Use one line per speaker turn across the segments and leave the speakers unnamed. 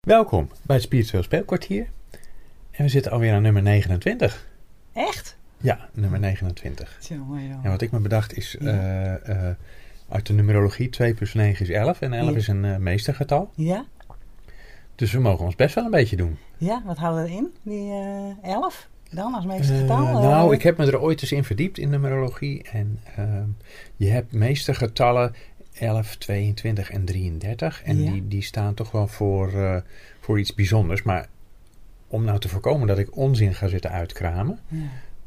Welkom bij het Spiritueel Speelkwartier. En we zitten alweer aan nummer 29.
Echt?
Ja, nummer 29.
Jongen, jongen.
En wat ik me bedacht is,
Ja.
eh, eh, uit de numerologie 2 plus 9 is 11 en 11
Ja.
is een eh, meestergetal.
Ja?
Dus we mogen ons best wel een beetje doen.
Ja, wat houdt dat in? Die eh elf? Dan als
Eh,
meestergetal? eh,
nou, ik heb me er ooit eens in verdiept in numerologie. En ehm, je hebt meestergetallen 11, 22 en 33. En
Ja.
die, die staan toch wel voor, eh, voor iets bijzonders. Maar om nou te voorkomen dat ik onzin ga zitten uitkramen,
Ja.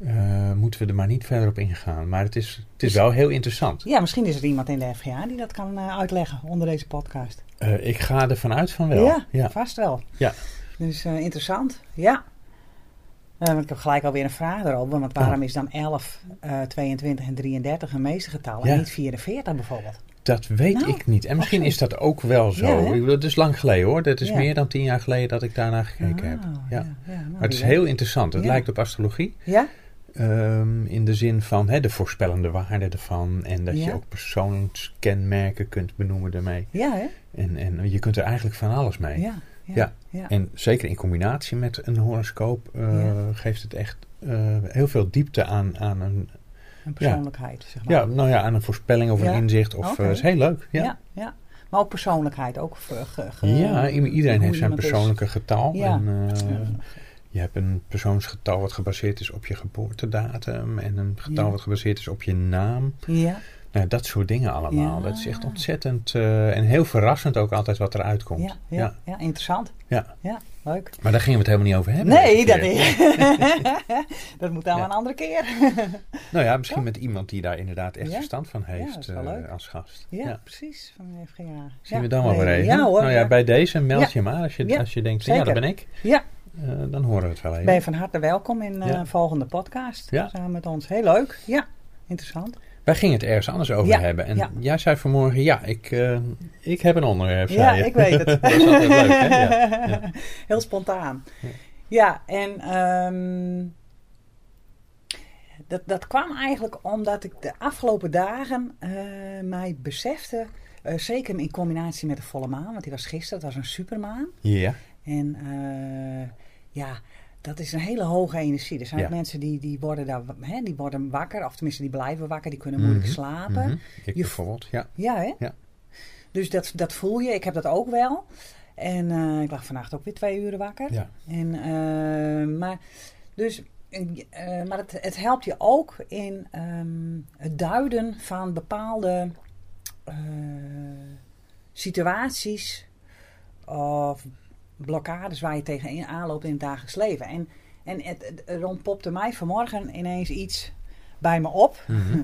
eh, moeten we er maar niet verder op ingaan. Maar het is, het is wel heel interessant.
Ja, misschien is er iemand in de FGA die dat kan eh, uitleggen onder deze podcast.
Eh, ik ga er vanuit van wel.
Ja,
ja.
vast wel.
Ja.
Dus eh, interessant, ja. Eh, want ik heb gelijk alweer een vraag erop. Want waarom is dan 11, eh, 22 en 33 een meestergetal
Ja.
en niet 44 bijvoorbeeld?
Dat weet
Nou,
ik niet. En misschien is
absoluut.
dat ook wel zo.
Ja, hè?
Ik bedoel, het is lang geleden hoor. Dat is
Ja.
meer dan tien jaar geleden dat ik daarna gekeken heb.
Ah,
Ja.
nou,
Maar het is
wie weet.
heel interessant. Het
Ja.
lijkt op astrologie.
Ja?
ehm, in de zin van hè, de voorspellende waarde ervan. En dat je
Ja.
ook persoonskenmerken kunt benoemen daarmee.
Ja, hè?
En, en je kunt er eigenlijk van alles mee.
Ja.
Ja.
ja.
En zeker in combinatie met een horoscoop eh,
Ja.
geeft het echt eh, heel veel diepte aan, aan, een,
Een persoonlijkheid, zeg maar.
ja, nou ja, aan een voorspelling of een
Ja.
inzicht. Of, eh,
Oké.
het is heel leuk. Ja,
Ja.
ja.
ja, Maar ook persoonlijkheid. Ook ge- ge- ge-
i- iedereen
hoe
heeft zijn
iemand is.
persoonlijke getal.
Ja.
En, eh,
Ja.
Je hebt een persoonsgetal wat gebaseerd is op je geboortedatum en een getal
Ja.
wat gebaseerd is op je naam.
Ja,
Nou, dat soort dingen allemaal.
Ja.
Dat is echt ontzettend eh, en heel verrassend ook altijd wat eruit komt.
ja, ja, ja. interessant.
Ja.
Ja, leuk.
Maar daar gingen we het helemaal niet over hebben.
Nee,
deze
dat
keer.
is. dat moet dan
Ja.
een andere keer.
Nou ja, misschien met iemand die daar inderdaad echt
Ja.
verstand van heeft
dat is wel
eh,
leuk.
als gast.
Ja, precies. Van de FGA.
Zien
Ja,
we dan wel
nee,
weer even.
Ja hoor.
nou ja,
ja.
bij deze meld
Ja.
je maar als je,
Ja,
als je denkt, ja,
zeker.
dat ben ik.
Ja.
Eh, dan horen we het wel even.
Ben je van harte welkom in de
Ja.
volgende podcast.
Ja.
Samen met ons. Heel leuk. Ja, interessant.
Wij gingen het ergens anders over
Ja,
hebben. En
ja.
jij zei vanmorgen, ja, ik, eh, ik heb een onderwerp, zei
Ja,
je.
ik weet het.
dat is altijd leuk, hè? Ja. Ja.
Heel spontaan.
Ja.
Ja, en ehm, dat, dat kwam eigenlijk omdat ik de afgelopen dagen eh, mij besefte, eh, zeker in combinatie met de volle maan, want die was gisteren, dat was een supermaan.
Ja,
En eh, ja, dat is een hele hoge energie. Er zijn
Ja.
ook mensen die, die, worden daar, hè, die worden wakker, of tenminste die blijven wakker, die kunnen moeilijk
Mhm,
slapen.
mhm. ik
Je-
bijvoorbeeld, ja.
Ja, hè?
Ja.
Dus dat, dat voel je. Ik heb dat ook wel. En eh, ik lag vannacht ook weer twee uren wakker.
ja.
En, eh, maar dus, eh, maar het, het helpt je ook in ehm, het duiden van bepaalde eh, situaties of blokkades waar je tegenaan aanloopt in het dagelijks leven. En, en het, het, er ontpopte mij vanmorgen ineens iets bij me op.
Mhm.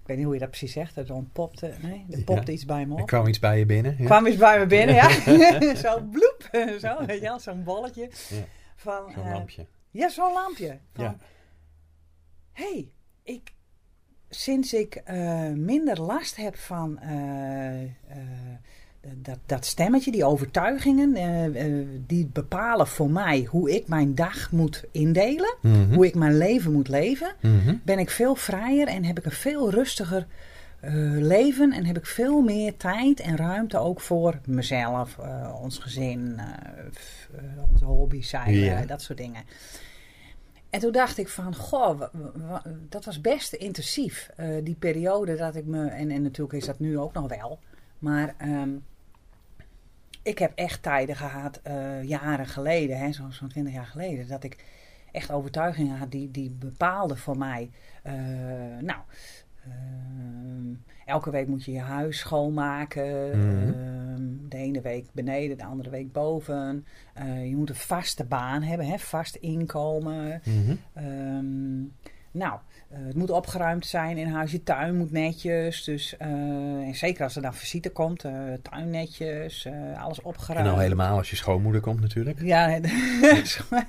Ik weet niet hoe je dat precies zegt. Het ontpopte, nee, er
Ja.
popte iets bij me
Er
op.
kwam iets bij je binnen. Ja.
Kwam eens bij me binnen, ja. zo bloep, zo, weet je wel, zo'n bolletje.
Ja.
Van,
Zo'n
eh,
lampje.
ja, zo'n lampje. Van,
Ja.
hey, ik, sinds ik eh, minder last heb van eh, eh, dat, dat stemmetje, die overtuigingen, eh, eh, die bepalen voor mij hoe ik mijn dag moet indelen,
Mhm,
hoe ik mijn leven moet leven,
mhm.
ben ik veel vrijer en heb ik een veel rustiger eh, leven en heb ik veel meer tijd en ruimte ook voor mezelf, eh, ons gezin, eh, f- eh, onze hobby's, zijn,
Ja.
eh, dat soort dingen. En toen dacht ik van, goh, wa- wa- dat was best intensief, eh, die periode dat ik me, en, en natuurlijk is dat nu ook nog wel, maar ehm, ik heb echt tijden gehad, eh, jaren geleden, hè, zo'n zo'n 20 jaar geleden, dat ik echt overtuigingen had die, die bepaalden voor mij. eh, nou, ehm, elke week moet je je huis schoonmaken.
Mhm.
ehm, de ene week beneden, de andere week boven. Eh, je moet een vaste baan hebben, hè, vast inkomen.
Mhm.
Ehm, nou, eh, het moet opgeruimd zijn in huis. Je tuin moet netjes. Dus, eh, en zeker als er dan visite komt, eh, tuin netjes, eh, alles
En
opgeruimd.
al helemaal als je schoonmoeder komt natuurlijk.
Ja,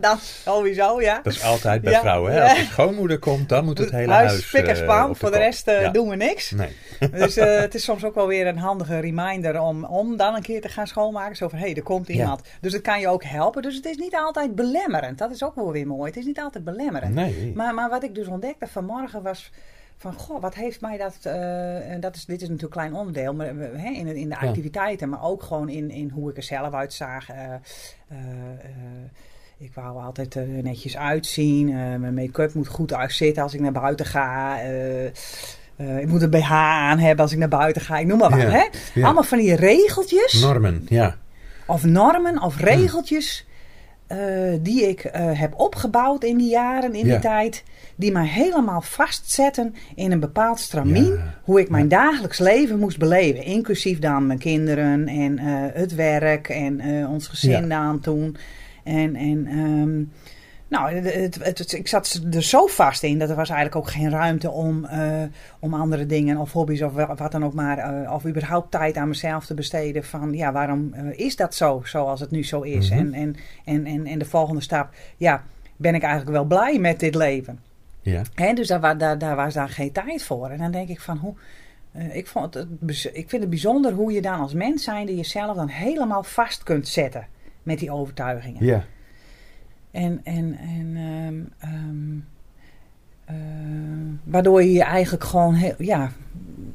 dat sowieso, ja.
Dat is altijd bij
Ja.
vrouwen. Hè? Als je schoonmoeder komt, dan moet het hele huis...
huis pik en
eh,
span,
op
voor de
kop.
rest eh,
Ja.
doen we niks.
Nee.
Dus eh, het is soms ook wel weer een handige reminder om, om dan een keer te gaan schoonmaken. Zo van, hé, hey, er komt iemand. Dus dat kan je ook helpen. Dus het is niet altijd belemmerend. Dat is ook wel weer mooi. Het is niet altijd belemmerend.
nee.
Maar, maar wat ik dus ontdekte vanmorgen was van, goh, wat heeft mij dat... eh, en dat is, dit is natuurlijk een klein onderdeel maar, we- hè, in, in de activiteiten, maar ook gewoon in, in hoe ik er zelf uitzag. eh, eh, eh, ik wou altijd er netjes uitzien. eh, mijn make-up moet goed zitten als ik naar buiten ga. eh, eh, ik moet een BH aan hebben als ik naar buiten ga. Ik noem maar wat.
Ja,
Hè?
ja.
Allemaal van die regeltjes
Normen, ja.
of normen of regeltjes eh, die ik eh, heb opgebouwd in die jaren, in
Ja.
die tijd, die mij helemaal vastzetten in een bepaald stramien.
Ja.
Hoe ik mijn dagelijks leven moest beleven, inclusief dan mijn kinderen en eh, het werk en eh, ons gezin
Ja.
dan toen. En, en ehm, nou, het, het- het- het- ik zat er zo vast in dat er was eigenlijk ook geen ruimte om, eh, om andere dingen of hobby's of wa- wat dan ook maar. eh, of überhaupt tijd aan mezelf te besteden van ja, waarom eh, is dat zo, zoals het nu zo is?
Mhm.
en, en, en, en, en de volgende stap, ja, ben ik eigenlijk wel blij met dit leven?
Ja,
Hè, dus daar, wa- daar, daar was daar geen tijd voor. En dan denk ik van hoe. eh, ik, vond het- het, bijz- ik vind het bijzonder hoe je dan als mens zijnde jezelf dan helemaal vast kunt zetten met die overtuigingen.
ja.
En, en, en ehm, ehm, eh, waardoor je je eigenlijk gewoon heel, ja,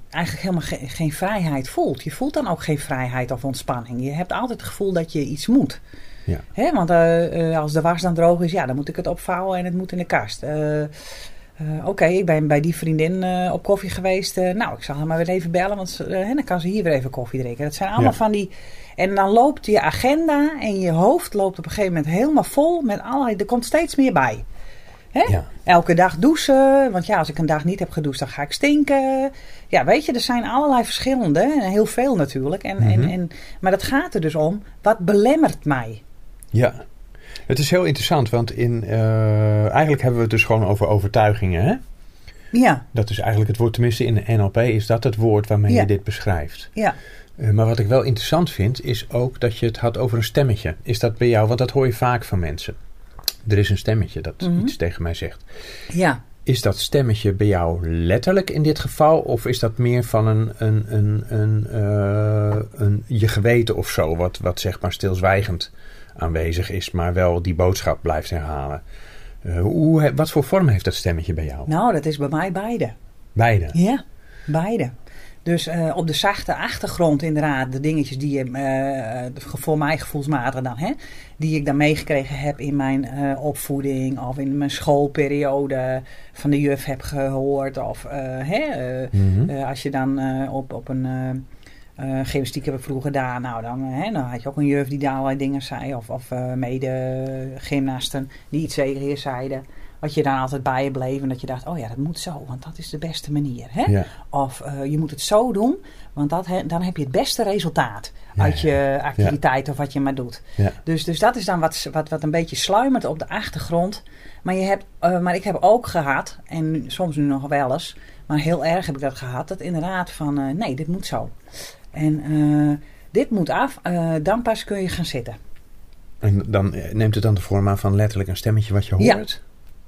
eigenlijk helemaal ge- geen vrijheid voelt. Je voelt dan ook geen vrijheid of ontspanning. Je hebt altijd het gevoel dat je iets moet.
Ja.
Hè, want eh, eh, als de was dan droog is, ja, dan moet ik het opvouwen en het moet in de kast. Eh, eh, Oké, ik ben bij die vriendin eh, op koffie geweest. Eh, nou, ik zal haar maar weer even bellen, want ze- eh, hè, dan kan ze hier weer even koffie drinken. Dat zijn allemaal
Ja.
van die en dan loopt je agenda en je hoofd loopt op een gegeven moment helemaal vol met allerlei. Er komt steeds meer bij. Hè?
Ja,
Elke dag douchen, want ja, als ik een dag niet heb gedoucht, dan ga ik stinken. Ja, weet je, er zijn allerlei verschillende, en heel veel natuurlijk. En,
Mhm.
en, en, maar dat gaat er dus om, wat belemmert mij?
ja. Het is heel interessant, want in, eh, eigenlijk hebben we het dus gewoon over overtuigingen. Hè?
Ja,
Dat is eigenlijk het woord, tenminste in de NLP is dat het woord waarmee
Ja.
je dit beschrijft.
ja,
Eh, maar wat ik wel interessant vind, is ook dat je het had over een stemmetje. Is dat bij jou? Want dat hoor je vaak van mensen. Er is een stemmetje dat
Mhm.
iets tegen mij zegt.
ja.
Is dat stemmetje bij jou letterlijk in dit geval? Of is dat meer van een, een, een, een, eh, een je geweten of zo? Wat, wat zeg maar stilzwijgend aanwezig is, maar wel die boodschap blijft herhalen. Eh, hoe, he- wat voor vorm heeft dat stemmetje bij jou?
Nou, dat is bij mij beide.
Beide.
Ja, beide. Dus eh, op de zachte achtergrond inderdaad, de dingetjes die je, eh, voor mij gevoelsmatig dan, hè, die ik dan meegekregen heb in mijn eh, opvoeding of in mijn schoolperiode van de juf heb gehoord. Of eh, hè, eh,
Mhm.
eh, als je dan eh, op, op een eh, eh, gymnastiek heb ik vroeger gedaan, nou dan, hè, dan had je ook een juf die daar allerlei dingen zei. Of, of eh, mede gymnasten die iets tegen je zeiden. Wat je dan altijd bij je bleef en dat je dacht, oh ja, dat moet zo, want dat is de beste manier. Hè?
Ja.
Of eh, je moet het zo doen, want dat he- dan heb je het beste resultaat
Ja,
uit
ja,
je activiteit of wat je maar doet.
Ja.
Dus, dus dat is dan wat, wat, wat een beetje sluimert op de achtergrond. Maar, je hebt, eh, maar ik heb ook gehad, en nu- soms nu nog wel eens, maar heel erg heb ik dat gehad, dat inderdaad van eh, nee, dit moet zo. En eh, dit moet af, eh, dan pas kun je gaan zitten.
En dan eh, neemt het dan de vorm aan van letterlijk een stemmetje wat je
Ja.
hoort?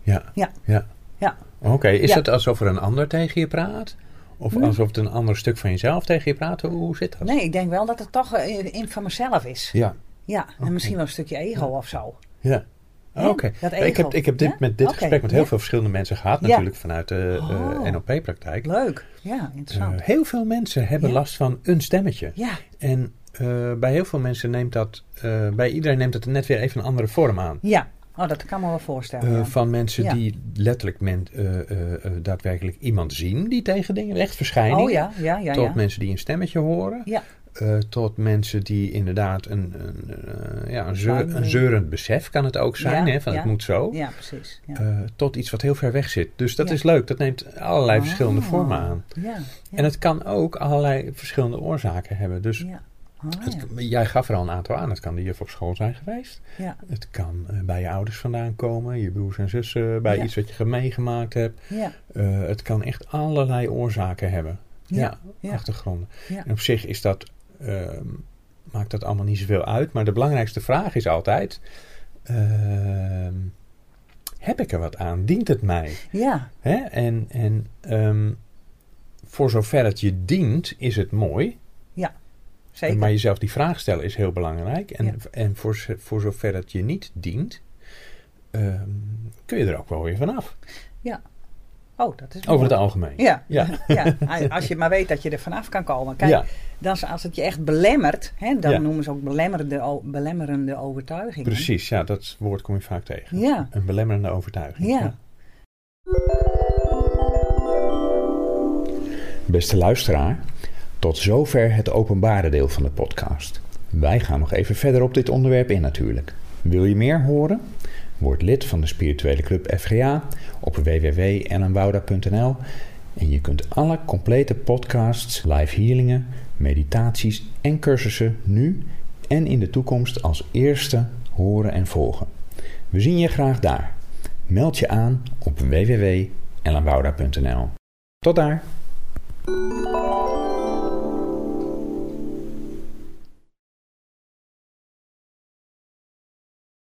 Ja.
Ja.
ja.
Ja.
Oké, is
Ja.
dat alsof er een ander tegen je praat? Of
Hm.
alsof het een ander stuk van jezelf tegen je praat? Hoe, hoe zit dat?
Nee, ik denk wel dat het toch eh, in, in van mezelf is.
Ja.
Ja, en misschien wel een stukje ego of zo.
ja.
Hè?
Oké.
Dat
Ik heb,
ego.
ik heb dit,
Ja?
met dit
Oké,
gesprek met heel
ja.
veel verschillende mensen gehad,
Ja.
natuurlijk vanuit de eh,
Oh.
NLP-praktijk.
Leuk. Ja, interessant.
Eh, heel veel mensen hebben
Ja.
last van een stemmetje.
ja.
En eh, bij heel veel mensen neemt dat, eh, bij iedereen neemt dat net weer even een andere vorm aan.
Ja, oh, dat kan me wel voorstellen.
Eh,
ja.
van mensen
Ja.
die letterlijk men, eh, eh, eh, daadwerkelijk iemand zien die tegen dingen echt verschijnen.
oh ja, ja, ja.
tot
ja.
mensen die een stemmetje horen.
Ja.
Eh, tot mensen die inderdaad een, een, eh, ja, een, zeur-
Bang.
een zeurend besef kan het ook zijn.
Ja,
hè, van
ja.
het moet zo.
Ja, precies. Ja.
Eh, tot iets wat heel ver weg zit. Dus dat
Ja.
is leuk. Dat neemt allerlei
Ah.
verschillende vormen aan.
ja, ja.
En het kan ook allerlei verschillende oorzaken hebben. Dus
ja. Ah,
het-
ja.
jij gaf er al een aantal aan. Het kan de juf op school zijn geweest.
Ja,
Het kan eh, bij je ouders vandaan komen, je broers en zussen, bij
Ja.
iets wat je ge- meegemaakt hebt.
ja,
Eh, het kan echt allerlei oorzaken hebben. Ja,
Ja, ja.
achtergronden.
Ja.
En op zich is dat, ehm, maakt dat allemaal niet zoveel uit. Maar de belangrijkste vraag is altijd: ehm, heb ik er wat aan? Dient het mij?
ja,
Hè? En, en ehm, voor zover het je dient, is het mooi.
zeker.
Maar jezelf die vraag stellen is heel belangrijk. En,
Ja.
en voor, z- voor zover het je niet dient, ehm, kun je er ook wel weer vanaf.
Oké, Oh, dat is
Over het algemeen.
Ja.
Ja.
ja, als je maar weet dat je er vanaf kan komen. Kijk,
Ja.
dan, is- als het je echt belemmert, hè, dan
Ja.
noemen ze ook belemmerende, o- belemmerende overtuigingen.
Precies, ja, dat woord kom je vaak tegen.
Ja.
Een belemmerende overtuiging.
Ja.
Beste luisteraar, tot zover het openbare deel van de podcast. Wij gaan nog even verder op dit onderwerp in natuurlijk. Wil je meer horen? Word lid van de spirituele club FGA op www.ellenwouda.nl en je kunt alle complete podcasts, live healingen, meditaties en cursussen nu en in de toekomst als eerste horen en volgen. We zien je graag daar. Meld je aan op www.ellenwouda.nl. Tot daar!